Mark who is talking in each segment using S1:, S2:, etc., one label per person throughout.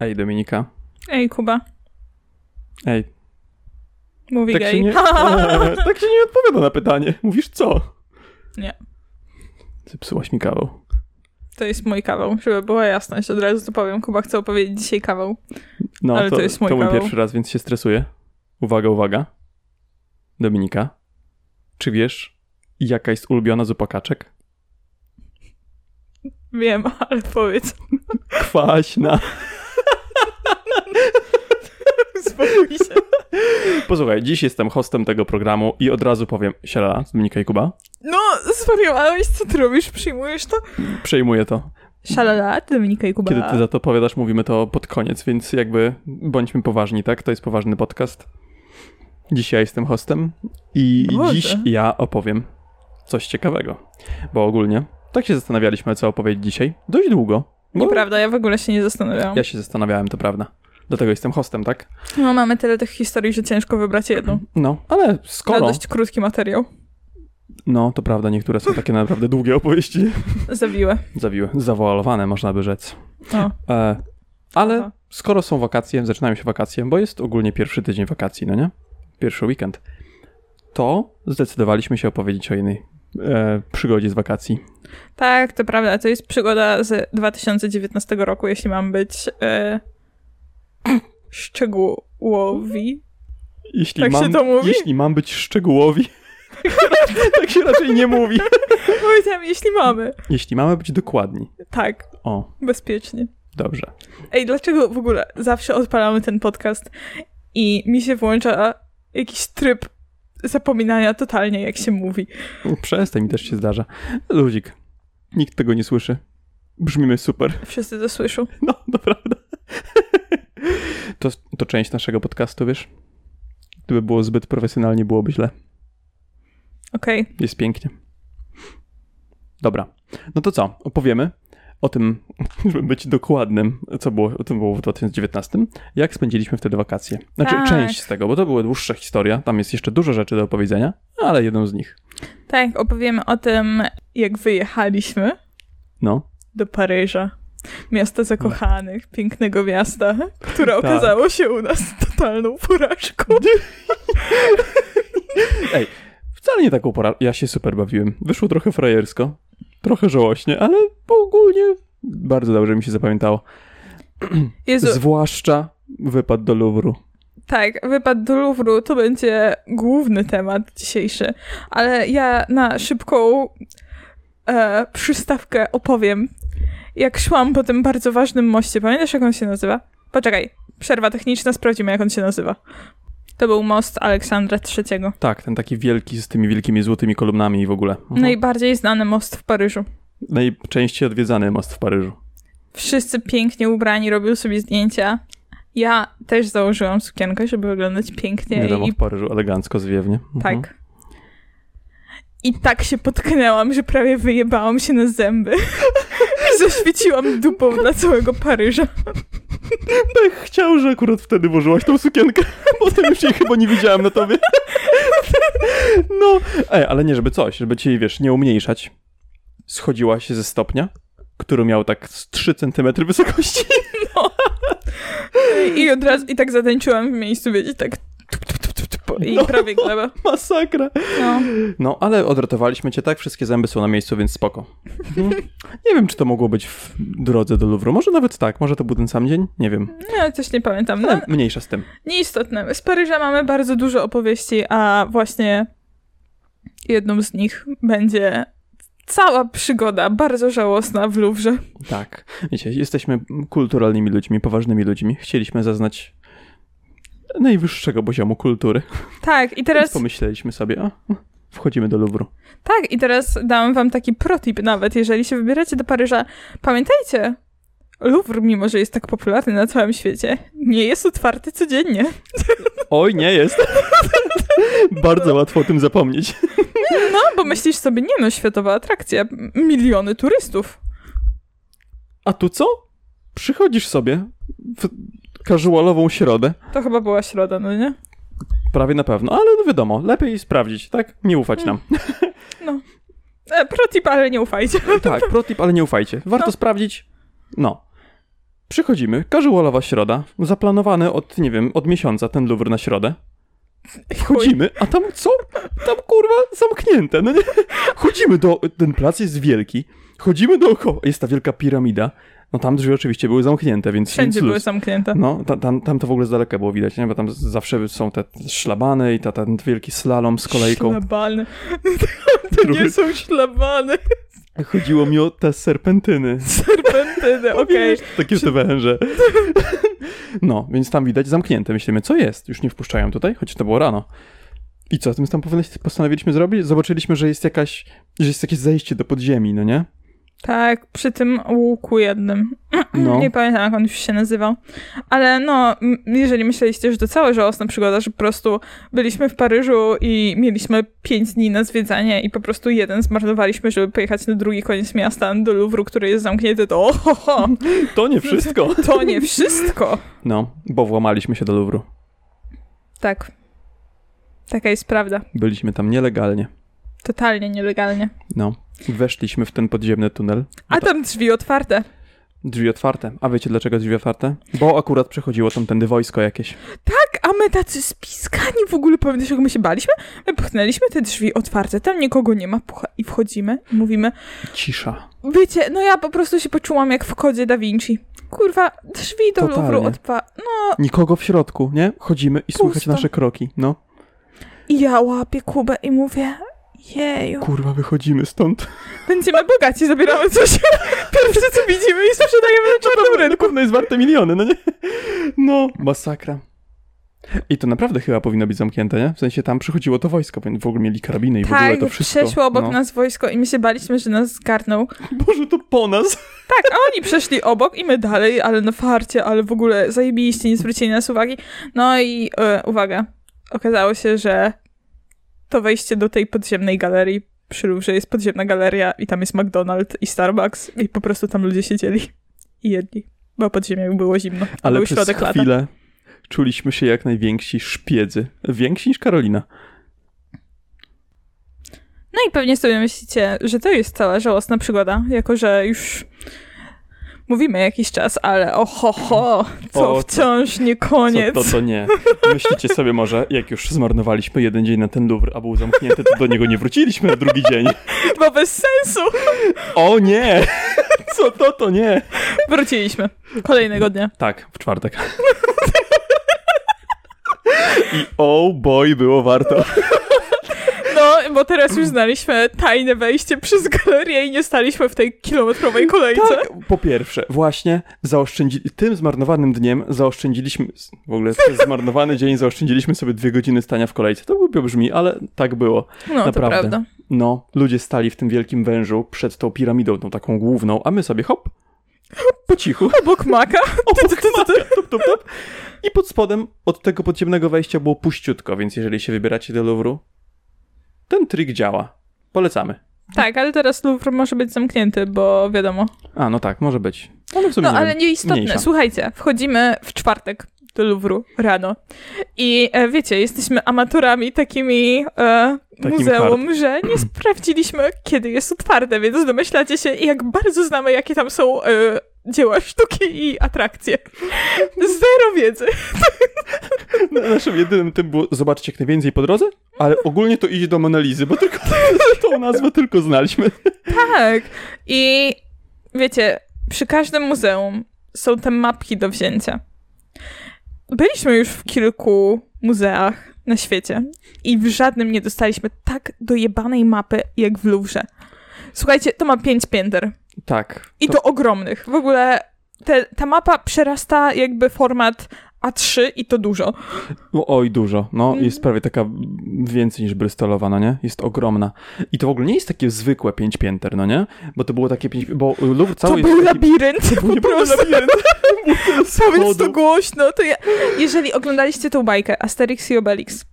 S1: Ej, Dominika.
S2: Ej, Kuba,
S1: Ej,
S2: mówi
S1: tak się,
S2: gej.
S1: nie, Eee, tak się nie odpowiada na pytanie. Mówisz co?
S2: Nie.
S1: Zepsułaś mi kawał.
S2: To jest mój kawał, żeby była jasność. Od razu to powiem. Kuba chce opowiedzieć dzisiaj kawał.
S1: No,
S2: Ale
S1: to,
S2: to jest mój
S1: mój
S2: kawał.
S1: pierwszy raz, więc się stresuję. Uwaga, uwaga. Dominika, czy wiesz, jaka jest ulubiona zupa kaczek?
S2: Wiem, ale powiedz.
S1: Kwaśna.
S2: Spokój się.
S1: Posłuchaj, dziś jestem hostem tego programu i od razu powiem, siara, Dominika i Kuba,
S2: No, zwariowałeś, co ty robisz? Przyjmujesz to?
S1: przejmuję to.
S2: Szalala, Dominika i Kuba.
S1: Kiedy ty za to opowiadasz, mówimy to pod koniec, więc jakby bądźmy poważni, tak? To jest poważny podcast. Dziś ja jestem hostem i
S2: Boże.
S1: dziś ja opowiem coś ciekawego. Bo ogólnie tak się zastanawialiśmy, co opowiedzieć dzisiaj. Dość długo. bo
S2: Nieprawda, ja w ogóle się nie zastanawiałam.
S1: No. Ja się zastanawiałem, to prawda. Dlatego jestem hostem, tak?
S2: No, mamy tyle tych historii, że ciężko wybrać jedną.
S1: No, ale
S2: Na
S1: skoro...
S2: dość krótki materiał.
S1: No, to prawda, niektóre są takie naprawdę długie opowieści.
S2: Zawiłe.
S1: Zawiły, zawoalowane, można by rzec.
S2: O.
S1: E, ale
S2: Aha.
S1: skoro są wakacje, zaczynają się wakacje, bo jest ogólnie pierwszy tydzień wakacji, no nie? Pierwszy weekend. To zdecydowaliśmy się opowiedzieć o innej e, przygodzie z wakacji.
S2: Tak, to prawda. To jest przygoda z 2019 roku, jeśli mam być e, szczegółowi.
S1: Jeśli
S2: Tak się
S1: mam,
S2: to mówi?
S1: Jeśli mam być szczegółowi, tak się raczej nie mówi.
S2: Powiedziałam, jeśli mamy.
S1: Jeśli mamy być dokładni.
S2: Tak,
S1: O,
S2: bezpiecznie.
S1: dobrze.
S2: Ej, dlaczego w ogóle zawsze odpalamy ten podcast i mi się włącza jakiś tryb zapominania totalnie, jak się mówi.
S1: Przestań, mi też się zdarza. Ludzik, nikt tego nie słyszy. Brzmimy super.
S2: Wszyscy to słyszą.
S1: No, to prawda. To, to część naszego podcastu, wiesz? Gdyby było zbyt profesjonalnie, byłoby źle.
S2: Okej,
S1: Jest pięknie. Dobra. No to co? Opowiemy o tym, żeby być dokładnym, co było, o tym było w 2019, jak spędziliśmy wtedy wakacje. Znaczy
S2: Tak.
S1: część z tego, bo to była dłuższa historia, tam jest jeszcze dużo rzeczy do opowiedzenia, ale jedną z nich.
S2: tak, opowiemy o tym, jak wyjechaliśmy
S1: No.
S2: do Paryża. Miasta zakochanych, pięknego miasta, które
S1: Tak.
S2: okazało się u nas totalną porażką.
S1: Wcale nie taką porą. Ja się super bawiłem. Wyszło trochę frajersko, trochę żałośnie, ale ogólnie bardzo dobrze mi się zapamiętało.
S2: Jezu,
S1: Zwłaszcza wypad do Louvru.
S2: Tak, wypad do Louvru to będzie główny temat dzisiejszy, ale ja na szybką e, przystawkę opowiem, jak szłam po tym bardzo ważnym moście. Pamiętasz, jak on się nazywa? Poczekaj, przerwa techniczna, sprawdzimy, jak on się nazywa. To był most Aleksandra III.
S1: Tak, ten taki wielki z tymi wielkimi złotymi kolumnami i w ogóle.
S2: No
S1: Mhm.
S2: Najbardziej znany most w Paryżu.
S1: Najczęściej odwiedzany most w Paryżu.
S2: Wszyscy pięknie ubrani, robił sobie zdjęcia. Ja też założyłam sukienkę, żeby wyglądać pięknie
S1: Wiadomo,
S2: i
S1: w Paryżu elegancko, zwiewnie. Mhm.
S2: Tak. I tak się potknęłam, że prawie wyjebałam się na zęby. I zaświeciłam dupą dla całego Paryża.
S1: Pech chciał, że akurat wtedy włożyłaś tą sukienkę. Potem już jej chyba nie widziałem na tobie. No, Ej, ale nie żeby coś, żeby ci, wiesz, nie umniejszać. Schodziła się ze stopnia, który miał tak z 3 cm wysokości.
S2: I od razu, i tak zatańczyłam w miejscu, wiecie, tak tup, tup, tup, tup, tup, i
S1: No.
S2: prawie gleba.
S1: Masakra.
S2: No.
S1: No, ale odratowaliśmy cię, tak? Wszystkie zęby są na miejscu, więc spoko. nie wiem, czy to mogło być w drodze do Louvru. Może nawet tak, może to był ten sam dzień? Nie wiem.
S2: no, coś nie pamiętam. No,
S1: Ale mniejsza z tym.
S2: nieistotne. Z Paryża mamy bardzo dużo opowieści, a właśnie jedną z nich będzie cała przygoda, bardzo żałosna w Luwrze.
S1: Tak. Wiecie, jesteśmy kulturalnymi ludźmi, poważnymi ludźmi. Chcieliśmy zaznać najwyższego poziomu kultury.
S2: Tak, i
S1: Teraz...
S2: teraz...
S1: Pomyśleliśmy sobie, a wchodzimy do Louvru.
S2: Tak, i teraz dam wam taki protip nawet, jeżeli się wybieracie do Paryża. Pamiętajcie, Louvre, mimo że jest tak popularny na całym świecie, nie jest otwarty codziennie.
S1: Oj, nie jest. Bardzo łatwo o tym zapomnieć.
S2: No, bo myślisz sobie, nie no, światowa atrakcja, m- miliony turystów.
S1: A tu co? Przychodzisz sobie w casualową środę,
S2: To chyba była środa, no nie?
S1: prawie na pewno, ale no wiadomo, lepiej sprawdzić, tak? Nie ufać nam.
S2: E, protip, ale nie ufajcie.
S1: No Tak, protip, ale nie ufajcie. Warto
S2: No.
S1: sprawdzić. No. Przychodzimy, casualowa środa, zaplanowany od, nie wiem, od miesiąca ten Louvre na środę. Chodzimy, a tam co? Tam kurwa zamknięte, no nie? Chodzimy do, ten plac jest wielki, chodzimy dookoła, jest ta wielka piramida, no tam drzwi oczywiście były zamknięte, więc
S2: Wszędzie
S1: nic
S2: były
S1: luz.
S2: zamknięte.
S1: No, ta, tam, tam to w ogóle z daleka było widać, nie? Bo tam z- zawsze są te szlabany i ta, ten wielki slalom z kolejką.
S2: Szlabany. To nie
S1: Drugi.
S2: są szlabany.
S1: Chodziło mi o te serpentyny.
S2: Serpentyny, okej.
S1: Wiesz, Takie te węże. No, więc tam widać zamknięte. Myślimy, co jest? Już nie wpuszczają tutaj, choć to było rano. I co, więc tam powinni- postanowiliśmy zrobić? Zobaczyliśmy, że jest jakaś, że jest jakieś zejście do podziemi, no nie?
S2: Tak, przy tym łuku jednym.
S1: No.
S2: Nie pamiętam, jak on już się nazywał. Ale no, m- jeżeli myśleliście, że to cała żałosna przygoda, że po prostu byliśmy w Paryżu i mieliśmy pięć dni na zwiedzanie i po prostu jeden zmarnowaliśmy, żeby pojechać na drugi koniec miasta, do Louvru, który jest zamknięty, to ohoho,
S1: To nie wszystko.
S2: to nie wszystko.
S1: No, bo włamaliśmy się do Louvru.
S2: Tak. Taka jest prawda.
S1: Byliśmy tam nielegalnie.
S2: Totalnie nielegalnie.
S1: No. Weszliśmy w ten podziemny tunel.
S2: A tam drzwi otwarte.
S1: Drzwi otwarte. A wiecie dlaczego drzwi otwarte? Bo akurat przechodziło tamtędy wojsko jakieś.
S2: A my tacy spiskani w ogóle, pamiętasz jak my się baliśmy? My pchnęliśmy te drzwi otwarte, tam nikogo nie ma, pucha, i wchodzimy, i mówimy,
S1: Cisza.
S2: wiecie, no ja po prostu się poczułam jak w kodzie Da Vinci. Kurwa, drzwi do
S1: Totalnie.
S2: Louvru odpa... No
S1: Nikogo w środku, nie? Chodzimy i słychać
S2: Pusto.
S1: nasze kroki. No.
S2: i ja łapię Kubę i mówię, jeju,
S1: Kurwa, wychodzimy stąd.
S2: będziemy bogaci, zabieramy coś, pierwsze co widzimy i sprzedajemy na czarnym
S1: Dobra,
S2: rynku.
S1: rynku no jest warte miliony, no nie? No, masakra. I to naprawdę chyba powinno być zamknięte, nie? W sensie tam przychodziło to wojsko, więc w ogóle mieli karabiny i w ogóle
S2: Tak,
S1: to wszystko.
S2: przeszło obok
S1: no.
S2: nas wojsko i my się baliśmy, że nas zgarną.
S1: Boże, to po nas.
S2: Tak, a oni przeszli obok i my dalej, ale na farcie, ale w ogóle zajebiście, nie zwrócili nas uwagi. No i e, uwaga, okazało się, że to wejście do tej podziemnej galerii przy Louvre jest podziemna galeria i tam jest McDonald's i Starbucks i po prostu tam ludzie siedzieli i jedli, bo pod ziemią było zimno.
S1: Ale
S2: Był
S1: przez
S2: środek lata.
S1: chwilę czuliśmy się jak najwięksi szpiedzy. Więksi niż Karolina.
S2: No i pewnie sobie myślicie, że to jest cała żałosna przygoda, jako że już mówimy jakiś czas, ale oho, ho, to
S1: O, to-
S2: wciąż nie koniec.
S1: Co to, to nie. Myślicie sobie może, jak już zmarnowaliśmy jeden dzień na ten Louvre, a był zamknięty, to do niego nie wróciliśmy na drugi dzień.
S2: Bo bez sensu.
S1: O nie! Co to, to nie.
S2: Wróciliśmy. Kolejnego dnia.
S1: Tak, w czwartek. I oh boy, było warto.
S2: No, bo teraz już znaliśmy tajne wejście przez galerię i nie staliśmy w tej kilometrowej kolejce.
S1: Tak, po pierwsze, właśnie zaoszczędzili, tym zmarnowanym dniem zaoszczędziliśmy, w ogóle ten zmarnowany dzień zaoszczędziliśmy sobie dwie godziny stania w kolejce. To głupio brzmi, ale tak było.
S2: No, to
S1: Naprawdę.
S2: prawda.
S1: No, ludzie stali w tym wielkim wężu przed tą piramidą, tą taką główną, a my sobie hop, po cichu,
S2: Obok No, maka. Ty, ty, ty, ty, ty.
S1: top, top, top. I pod spodem od tego podziemnego wejścia było puściutko, więc jeżeli się wybieracie do Louvru, ten trik działa. Polecamy.
S2: Tak, ale teraz Louvre może być zamknięty, bo wiadomo.
S1: A, no tak, może być. Ale w sumie
S2: No,
S1: nie
S2: ale
S1: wiem.
S2: nieistotne.
S1: mniejsza.
S2: Słuchajcie, wchodzimy w czwartek do Louvru rano. I e, wiecie, jesteśmy amatorami takimi e,
S1: Takim
S2: muzeum, że nie sprawdziliśmy, kiedy jest otwarte, więc domyślacie się, jak bardzo znamy, jakie tam są e, dzieła sztuki i atrakcje. Zero wiedzy.
S1: Na- Naszym jedynym tym było zobaczyć jak najwięcej po drodze, ale ogólnie to idzie do Monalizy, bo tylko tą nazwę tylko znaliśmy.
S2: Tak. I wiecie, przy każdym muzeum są te mapki do wzięcia. Byliśmy już w kilku muzeach na świecie i w żadnym nie dostaliśmy tak dojebanej mapy jak w Louvre. Słuchajcie, to ma pięć pięter
S1: Tak.
S2: i to, ogromnych. W ogóle te, ta mapa przerasta jakby format A3 i to dużo.
S1: O- Oj, dużo. No,
S2: Mhm.
S1: jest prawie taka więcej niż brystolowa, no nie? Jest ogromna. I to w ogóle nie jest takie zwykłe pięć pięter, no nie? Bo to było takie pięć... Bo Louvre cały
S2: to
S1: jest
S2: był
S1: taki...
S2: labirynt
S1: był
S2: po prostu.
S1: labirynt.
S2: Powiedz to
S1: Schodów.
S2: głośno, to ja... Jeżeli oglądaliście tą bajkę Asterix i Obelix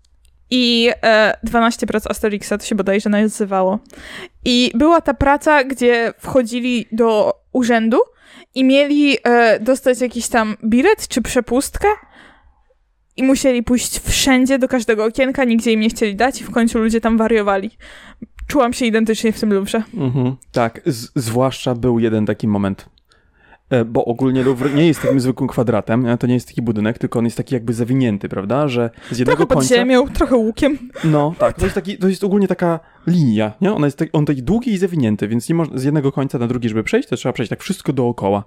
S2: i e, 12 prac Asterixa, to się bodajże nazywało. I była ta praca, gdzie wchodzili do urzędu i mieli e, dostać jakiś tam bilet czy przepustkę i musieli pójść wszędzie, do każdego okienka, nigdzie im nie chcieli dać i w końcu ludzie tam wariowali. Czułam się identycznie w tym lubrze.
S1: Mhm, tak, z, zwłaszcza był jeden taki moment. E, Bo ogólnie Louvre nie jest takim zwykłym kwadratem, e, to nie jest taki budynek, tylko on jest taki jakby zawinięty, prawda? Że z jednego
S2: Trochę pod
S1: końca.
S2: ziemią, trochę łukiem.
S1: No, tak. To jest, taki, to jest ogólnie taka linia, nie? Ona jest tak, on taki długi i zawinięty, więc nie można z jednego końca na drugi, żeby przejść, to trzeba przejść tak wszystko dookoła.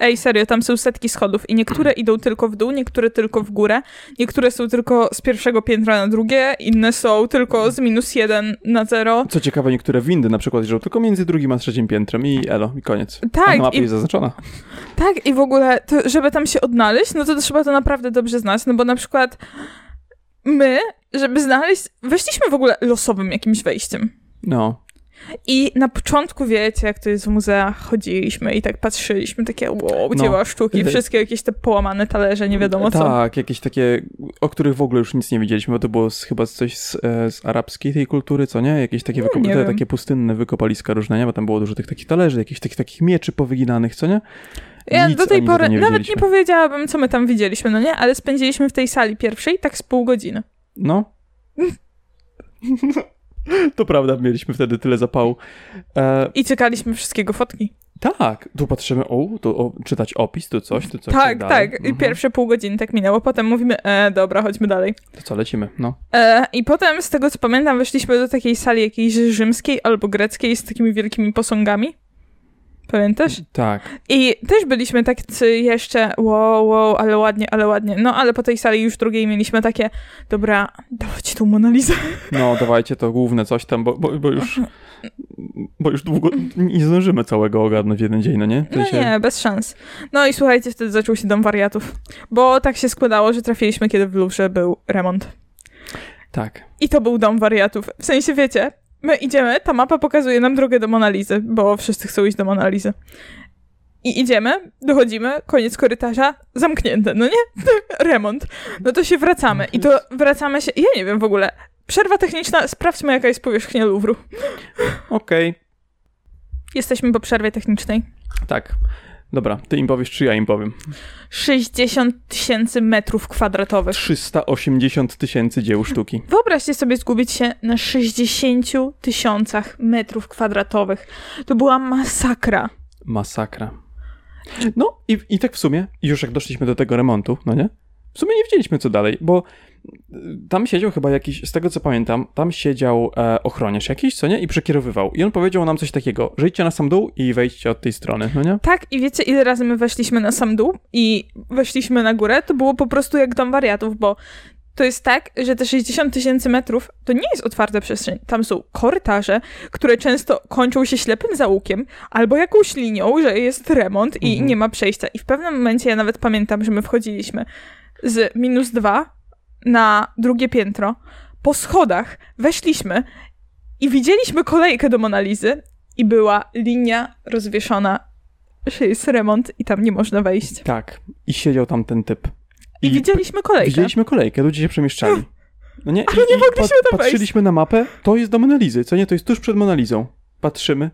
S2: Ej, serio, tam są setki schodów i niektóre idą tylko w dół, niektóre tylko w górę, niektóre są tylko z pierwszego piętra na drugie, inne są tylko z minus jeden na zero.
S1: Co ciekawe, niektóre windy na przykład jeżdżą tylko między drugim a trzecim piętrem i elo, i koniec.
S2: Tak,
S1: A na mapie
S2: i-
S1: jest zaznaczona.
S2: Tak, i w ogóle, to, żeby tam się odnaleźć, no to trzeba to naprawdę dobrze znać, no bo na przykład my, żeby znaleźć, weszliśmy w ogóle losowym jakimś wejściem.
S1: No.
S2: I na początku, wiecie, jak to jest w muzeach, chodziliśmy i tak patrzyliśmy, takie wow,
S1: No.
S2: dzieła sztuki,
S1: Wy-
S2: wszystkie jakieś te połamane talerze, nie wiadomo co.
S1: Tak, jakieś takie, o których w ogóle już nic nie wiedzieliśmy, bo to było z, chyba coś z, e, z arabskiej tej kultury, co nie? Jakieś takie, wyko-
S2: No, nie
S1: te,
S2: wiem.
S1: takie pustynne wykopaliska różne, nie? Bo tam było dużo tych takich talerzy, jakichś takich, takich mieczy powyginanych, co nie?
S2: Ja
S1: Nic
S2: do tej
S1: ani tego
S2: pory nawet nie
S1: wiedzieliśmy.
S2: powiedziałabym, co my tam widzieliśmy, no nie? Ale spędziliśmy w tej sali pierwszej tak z pół godziny.
S1: No. to prawda, mieliśmy wtedy tyle zapału. E,
S2: I czekaliśmy wszystkiego fotki.
S1: tak, tu patrzymy, o, tu o, czytać opis, tu coś, tu coś.
S2: tak,
S1: dalej.
S2: tak. I
S1: Mhm.
S2: pierwsze pół godziny tak minęło. Potem mówimy, e, dobra, chodźmy dalej.
S1: To co, lecimy, no.
S2: E, I potem, z tego co pamiętam, weszliśmy do takiej sali jakiejś rzymskiej albo greckiej z takimi wielkimi posągami. Pamiętasz?
S1: Tak.
S2: I też byliśmy tak jeszcze, wow, wow, ale ładnie, ale ładnie. No, ale po tej sali już drugiej mieliśmy takie, dobra, dawać tą Monalizę.
S1: No, dawajcie to główne coś tam, bo, bo, bo już. Bo już długo nie zdążymy całego ogarnąć w jeden dzień, no nie? W
S2: No
S1: sensie-
S2: nie, bez szans. No i słuchajcie, wtedy zaczął się dom wariatów. Bo tak się składało, że trafiliśmy, kiedy w Louvre był remont.
S1: Tak.
S2: I to był dom wariatów. W sensie, wiecie, my idziemy, ta mapa pokazuje nam drogę do Monalizy, bo wszyscy chcą iść do Monalizy. I idziemy, dochodzimy, koniec korytarza, zamknięte, no nie? Remont. No to się wracamy. I to wracamy się, ja nie wiem w ogóle, przerwa techniczna, sprawdźmy jaka jest powierzchnia Louvru.
S1: Okej,
S2: Jesteśmy po przerwie technicznej.
S1: tak. Dobra, ty im powiesz, czy ja im powiem.
S2: 60 tysięcy metrów kwadratowych.
S1: 380 tysięcy dzieł sztuki.
S2: Wyobraźcie sobie zgubić się na 60 tysiącach metrów kwadratowych. To była masakra.
S1: Masakra. No i, i tak w sumie, już jak doszliśmy do tego remontu, no nie? W sumie nie wiedzieliśmy co dalej, bo y, tam siedział chyba jakiś, z tego co pamiętam, tam siedział e, ochroniarz jakiś, co nie? I przekierowywał. I on powiedział nam coś takiego, że idźcie na sam dół i wejdźcie od tej strony, no nie?
S2: Tak, i wiecie, ile razy my weszliśmy na sam dół i weszliśmy na górę, to było po prostu jak dom wariatów, bo to jest tak, że te 60 tysięcy metrów to nie jest otwarta przestrzeń. Tam są korytarze, które często kończą się ślepym załukiem albo jakąś linią, że jest remont i
S1: Mhm.
S2: nie ma przejścia. I w pewnym momencie ja nawet pamiętam, że my wchodziliśmy z minus dwa na drugie piętro, po schodach weszliśmy i widzieliśmy kolejkę do Monalizy i była linia rozwieszona, że jest remont i tam nie można wejść.
S1: Tak. I siedział tam ten typ.
S2: I, widzieliśmy kolejkę.
S1: Widzieliśmy kolejkę, ludzie się przemieszczali. No nie,
S2: Ale
S1: i-
S2: nie
S1: i
S2: mogliśmy tam wejść.
S1: Patrzyliśmy na mapę, to jest do Monalizy, co nie? To jest tuż przed Monalizą. Patrzymy,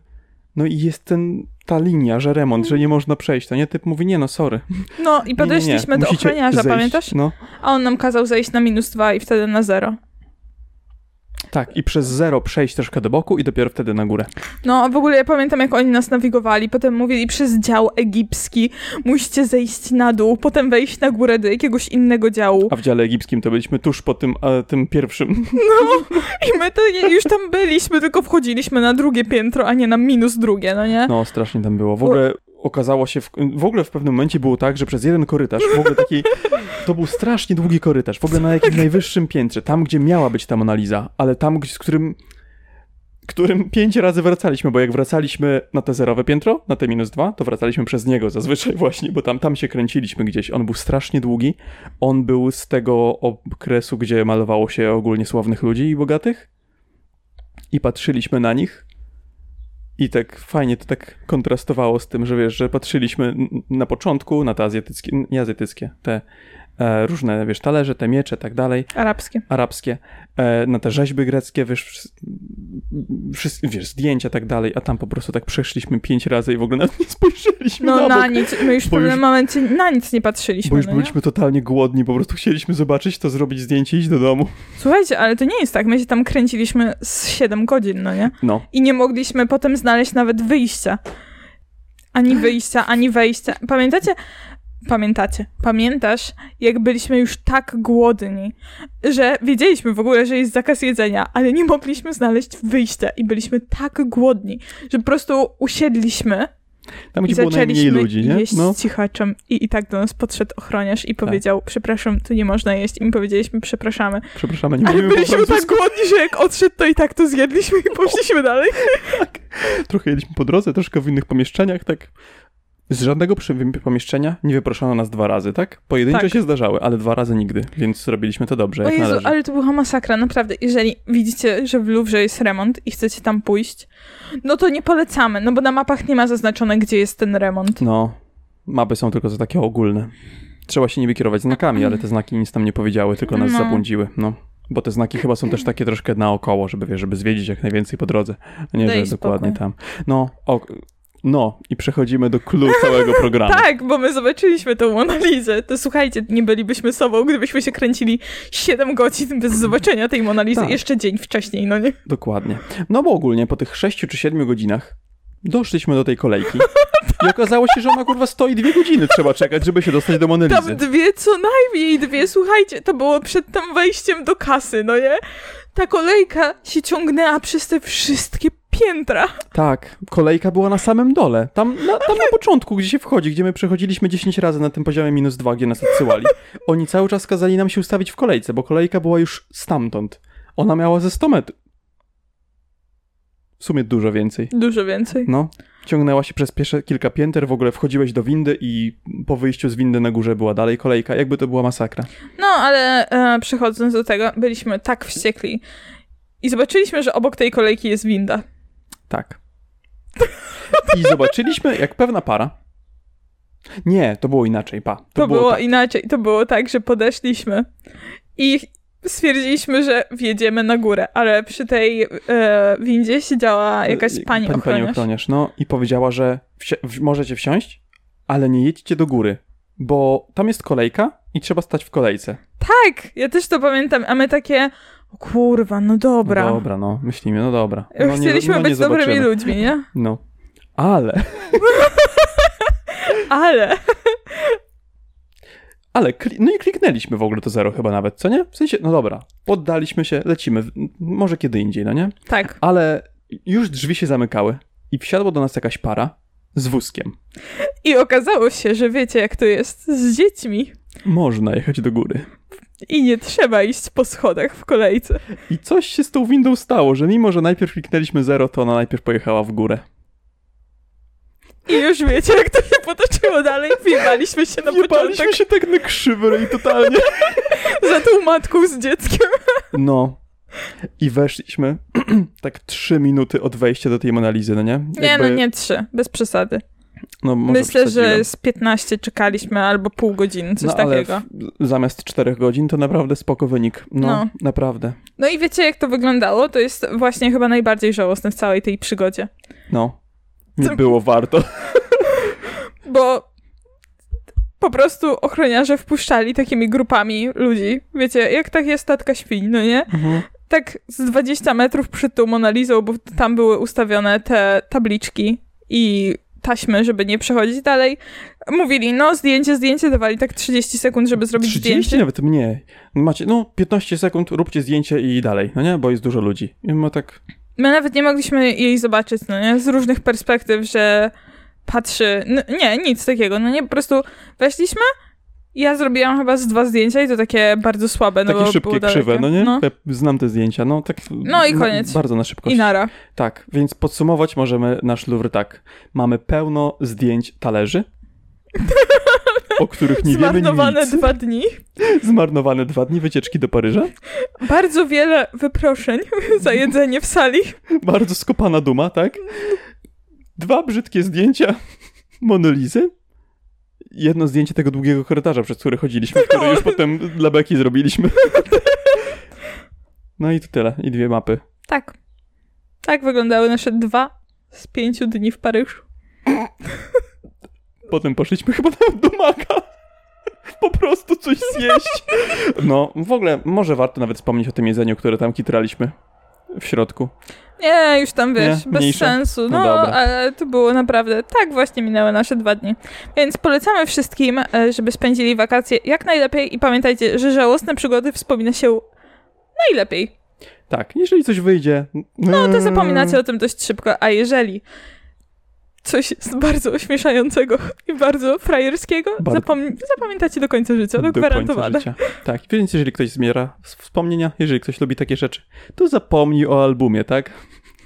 S1: no i jest ten, ta linia, że remont, że nie można przejść, to nie? Typ mówi, nie no, sorry. Nie,
S2: No i
S1: nie, nie,
S2: podeszliśmy do
S1: musicie
S2: ochroniarza,
S1: zejść.
S2: pamiętasz?
S1: No,
S2: A on nam kazał zejść na minus dwa i wtedy na zero.
S1: tak. I przez zero przejść troszkę do boku i dopiero wtedy na górę.
S2: No, a w ogóle ja pamiętam, jak oni nas nawigowali. Potem mówili przez dział egipski, musicie zejść na dół, potem wejść na górę do jakiegoś innego działu.
S1: A w dziale egipskim to byliśmy tuż po tym, e, tym pierwszym.
S2: I my to nie, już tam byliśmy, tylko wchodziliśmy na drugie piętro, a nie na minus drugie, no nie?
S1: No, strasznie tam było. W ogóle okazało się, w, w ogóle w pewnym momencie było tak, że przez jeden korytarz, w ogóle taki, to był strasznie długi korytarz, w ogóle na jakimś najwyższym piętrze, tam gdzie miała być ta Monaliza, ale tam, gdzie- z którym którym pięć razy wracaliśmy, bo jak wracaliśmy na te zerowe piętro, na te minus dwa, to wracaliśmy przez niego zazwyczaj właśnie, bo tam, tam się kręciliśmy gdzieś. On był strasznie długi. On był z tego okresu, gdzie malowało się ogólnie sławnych ludzi i bogatych. I patrzyliśmy na nich i tak fajnie to tak kontrastowało z tym, że wiesz, że patrzyliśmy n- na początku na te azjatyckie, n- nie azjatyckie, te e, różne, wiesz, talerze, te miecze, tak dalej,
S2: Arabskie.
S1: arabskie, e, na te rzeźby greckie, wiesz, wsz- wszys- wiesz, zdjęcia, tak dalej, a tam po prostu tak przeszliśmy pięć razy i w ogóle nawet nie spojrzeliśmy
S2: No
S1: na,
S2: na
S1: bok,
S2: nic, my już w
S1: bo
S2: pewnym
S1: już-
S2: momencie na nic nie patrzyliśmy.
S1: bo już
S2: no nie?
S1: byliśmy totalnie głodni, po prostu chcieliśmy zobaczyć to, zrobić zdjęcie i iść do domu.
S2: Słuchajcie, ale to nie jest tak, my się tam kręciliśmy z 7 godzin, no nie?
S1: No,
S2: I nie mogliśmy potem znaleźć nawet wyjścia. ani wyjścia, ani wejścia. Pamiętacie? Pamiętacie, pamiętasz, jak byliśmy już tak głodni, że wiedzieliśmy w ogóle, że jest zakaz jedzenia, ale nie mogliśmy znaleźć wyjścia i byliśmy tak głodni, że po prostu usiedliśmy
S1: Tam,
S2: i
S1: gdzie było najmniej
S2: zaczęliśmy
S1: ludzi, nie? No, Tak.
S2: jeść z cichaczem i, i tak do nas podszedł ochroniarz i powiedział, przepraszam, tu nie można jeść i my powiedzieliśmy, przepraszamy.
S1: Przepraszamy, nie
S2: Ale
S1: mówimy po
S2: byliśmy tak
S1: francusku.
S2: głodni, że jak odszedł, to i tak to zjedliśmy i poszliśmy dalej.
S1: Trochę jedliśmy po drodze, troszkę w innych pomieszczeniach, tak. Z żadnego przy- pomieszczenia nie wyproszono nas dwa razy, tak? Pojedyncze
S2: Tak.
S1: się zdarzały, ale dwa razy nigdy, więc zrobiliśmy to dobrze,
S2: O
S1: jak
S2: Jezu,
S1: należy.
S2: ale to była masakra, naprawdę. Jeżeli widzicie, że w Louvre jest remont i chcecie tam pójść, no to nie polecamy, no bo na mapach nie ma zaznaczone, gdzie jest ten remont.
S1: No, mapy są tylko za takie ogólne. Trzeba się niby kierować znakami, ale te znaki nic tam nie powiedziały, tylko nas
S2: No. Mm.
S1: zabłądziły, no. Bo te znaki chyba są też takie troszkę naokoło, żeby, wiesz, żeby zwiedzić jak najwięcej po drodze. a Nie,
S2: Daj
S1: że dokładnie
S2: spokój.
S1: tam. No, o, no i przechodzimy do clue całego programu.
S2: Tak, bo my zobaczyliśmy tą Monalizę. To słuchajcie, nie bylibyśmy sobą, gdybyśmy się kręcili 7 godzin bez zobaczenia tej Monalizy
S1: Tak.
S2: jeszcze dzień wcześniej, no nie?
S1: Dokładnie. No bo ogólnie po tych 6 czy 7 godzinach doszliśmy do tej kolejki i okazało się, że ona kurwa stoi dwie godziny trzeba czekać, żeby się dostać do Monelizy.
S2: Tam dwie, co najmniej dwie, słuchajcie, to było przed tam wejściem do kasy, no nie? Ta kolejka się ciągnęła przez te wszystkie piętra.
S1: Tak, kolejka była na samym dole. Tam na, tam na początku, gdzie się wchodzi, gdzie my przechodziliśmy 10 razy na tym poziomie minus 2, gdzie nas odsyłali. Oni cały czas kazali nam się ustawić w kolejce, bo kolejka była już stamtąd. Ona miała ze 100 metrów. W sumie dużo więcej.
S2: Dużo więcej.
S1: No. Ciągnęła się przez pierwsze kilka pięter, w ogóle wchodziłeś do windy i po wyjściu z windy na górze była dalej kolejka. Jakby to była masakra.
S2: No, ale e, przechodząc do tego, byliśmy tak wściekli i zobaczyliśmy, że obok tej kolejki jest winda.
S1: Tak. I zobaczyliśmy, jak pewna para. Nie, to było inaczej, pa. To,
S2: To, było,
S1: tak.
S2: inaczej. To było tak, że podeszliśmy i stwierdziliśmy, że wjedziemy na górę, ale przy tej e, windzie siedziała jakaś
S1: Y,
S2: pani,
S1: Pani
S2: ochroniarz.
S1: ochroniarz, no i powiedziała, że wsi- w- możecie wsiąść, ale nie jedźcie do góry, bo tam jest kolejka i trzeba stać w kolejce.
S2: Tak, ja też to pamiętam, a my takie, o kurwa, no dobra.
S1: No dobra, no, myślimy, no dobra. No, nie-
S2: Chcieliśmy
S1: no, nie
S2: być dobrymi
S1: zobaczymy.
S2: ludźmi, nie?
S1: No. Ale,
S2: Ale
S1: ale, kli- no i kliknęliśmy w ogóle to zero chyba nawet, co nie? W sensie, no dobra, poddaliśmy się, lecimy, w- m- może kiedy indziej, no nie?
S2: tak.
S1: Ale już drzwi się zamykały i wsiadła do nas jakaś para z wózkiem.
S2: I okazało się, że wiecie, jak to jest z dziećmi
S1: Można jechać do góry.
S2: i nie trzeba iść po schodach w kolejce.
S1: I coś się z tą windą stało, że mimo, że najpierw kliknęliśmy zero, to ona najpierw pojechała w górę.
S2: I już wiecie, jak to się potoczyło dalej. Wjebaliśmy się na początek
S1: Jebaliśmy się tak na krzywy i totalnie.
S2: za tą matką z dzieckiem.
S1: No. I weszliśmy tak trzy minuty od wejścia do tej Monalizy, no nie?
S2: Nie, no nie trzy, bez przesady.
S1: No, może
S2: Myślę,
S1: przesadziłem.
S2: że z 15 czekaliśmy albo pół godziny, coś
S1: no, ale
S2: takiego.
S1: W, zamiast czterech godzin to naprawdę spoko wynik. No,
S2: No.
S1: naprawdę.
S2: No i wiecie, jak to wyglądało? To jest właśnie chyba najbardziej żałosne w całej tej przygodzie.
S1: No. Nie
S2: Co-
S1: było warto.
S2: Bo po prostu ochroniarze wpuszczali takimi grupami ludzi. Wiecie, jak tak jest tatka świń, no nie? tak z 20 metrów przed tą Monalizą, bo tam były ustawione te tabliczki i taśmy, żeby nie przechodzić dalej. Mówili, no zdjęcie, zdjęcie, dawali tak 30 sekund, żeby zrobić
S1: 30
S2: zdjęcie.
S1: nawet mniej. Macie, no 15 sekund, róbcie zdjęcie i dalej, no nie? Bo jest dużo ludzi. I my tak,
S2: My nawet nie mogliśmy jej zobaczyć, no nie? Z różnych perspektyw, że patrzy... No, nie, nic takiego, no nie? Po prostu weszliśmy, ja zrobiłam chyba z dwa zdjęcia i to takie bardzo słabe, no
S1: takie
S2: bo
S1: szybkie,
S2: było dalekie.
S1: krzywe, no nie?
S2: No.
S1: Ja znam te zdjęcia, no tak.
S2: No i koniec.
S1: bardzo na szybkość.
S2: I nara.
S1: Tak, więc podsumować możemy nasz Louvre tak. Mamy pełno zdjęć talerzy, o których nie wiemy
S2: Zmarnowane
S1: nic.
S2: dwa dni.
S1: Zmarnowane dwa dni wycieczki do Paryża.
S2: Bardzo wiele wyproszeń za jedzenie w sali.
S1: Bardzo skopana duma, tak? Dwa brzydkie zdjęcia Monolizy. Jedno zdjęcie tego długiego korytarza, przez który chodziliśmy, które już potem dla Beki zrobiliśmy. No i to tyle. I dwie mapy.
S2: Tak. Tak wyglądały nasze dwa z pięciu dni w Paryżu.
S1: Potem poszliśmy chyba tam do Maka. Po prostu coś zjeść. No, w ogóle może warto nawet wspomnieć o tym jedzeniu, które tam kitraliśmy. w środku.
S2: Nie, już tam wiesz,
S1: Nie?
S2: bez
S1: Mniejsze?
S2: sensu.
S1: No
S2: No,
S1: dobra.
S2: ale to było naprawdę. Tak właśnie minęły nasze dwa dni. Więc polecamy wszystkim, e, żeby spędzili wakacje jak najlepiej i pamiętajcie, że żałosne przygody wspomina się najlepiej.
S1: Tak, jeżeli coś wyjdzie...
S2: No
S1: Mm.
S2: to zapominacie o tym dość szybko, a jeżeli coś jest bardzo ośmieszającego i bardzo frajerskiego,
S1: Bardzo.
S2: zapom- zapamiętacie do końca życia, no
S1: do końca
S2: gwarantowane.
S1: życia. Tak, więc jeżeli ktoś zmiera z wspomnienia, jeżeli ktoś lubi takie rzeczy, to zapomnij o albumie, tak?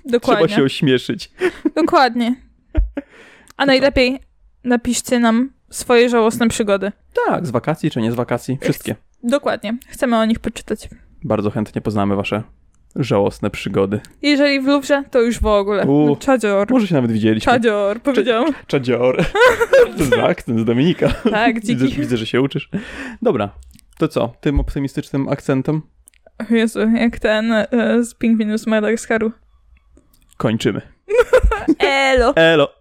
S2: Dokładnie.
S1: Trzeba się ośmieszyć.
S2: Dokładnie. A najlepiej napiszcie nam swoje żałosne przygody.
S1: Tak, z wakacji czy nie z wakacji, wszystkie.
S2: Dokładnie. Chcemy o nich poczytać.
S1: Bardzo chętnie poznamy wasze żałosne przygody.
S2: Jeżeli w Luwrze, to już w ogóle.
S1: U.
S2: Czadzior.
S1: Może się nawet widzieliśmy.
S2: Czadzior, powiedziałam.
S1: Czadzior. Z akcent z Dominika.
S2: Tak,
S1: Widzę,
S2: dziki.
S1: widzę, że się uczysz. Dobra, to co? Tym optymistycznym akcentem
S2: O Jezu, jak ten e, z pingwinu z Madagaskaru.
S1: kończymy.
S2: Elo!
S1: Elo!